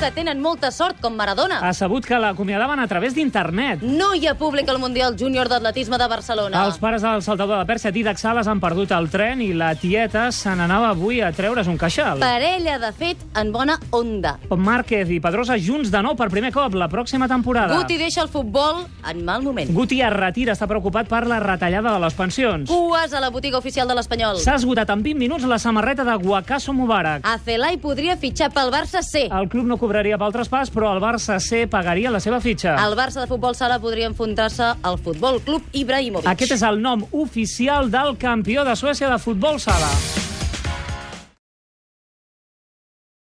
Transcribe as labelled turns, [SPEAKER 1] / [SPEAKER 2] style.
[SPEAKER 1] que tenen molta sort, com Maradona.
[SPEAKER 2] Ha sabut que l'acomiadaven a través d'internet.
[SPEAKER 1] No hi ha públic al Mundial Júnior d'Atletisme de Barcelona.
[SPEAKER 2] Els pares del saltador de Pèrsia, Didac Sales, han perdut el tren i la tieta se n'anava avui a treure's un queixal.
[SPEAKER 1] Parella, de fet, en bona onda.
[SPEAKER 2] Márquez i Pedrosa junts de nou per primer cop la pròxima temporada.
[SPEAKER 1] Guti deixa el futbol en mal moment.
[SPEAKER 2] Guti es retira, està preocupat per la retallada de les pensions.
[SPEAKER 1] Cues a la botiga oficial de l'Espanyol.
[SPEAKER 2] S'ha esgotat en 20 minuts la samarreta de Guacasso Mubarak.
[SPEAKER 1] Acelai podria fitxar pel Barça C.
[SPEAKER 2] El club no cobraria pel traspàs, però el Barça C pagaria la seva fitxa.
[SPEAKER 1] El Barça de futbol sala podria enfrontar-se al Futbol Club Ibrahimovic.
[SPEAKER 2] Aquest és el nom oficial del campió de Suècia de futbol sala.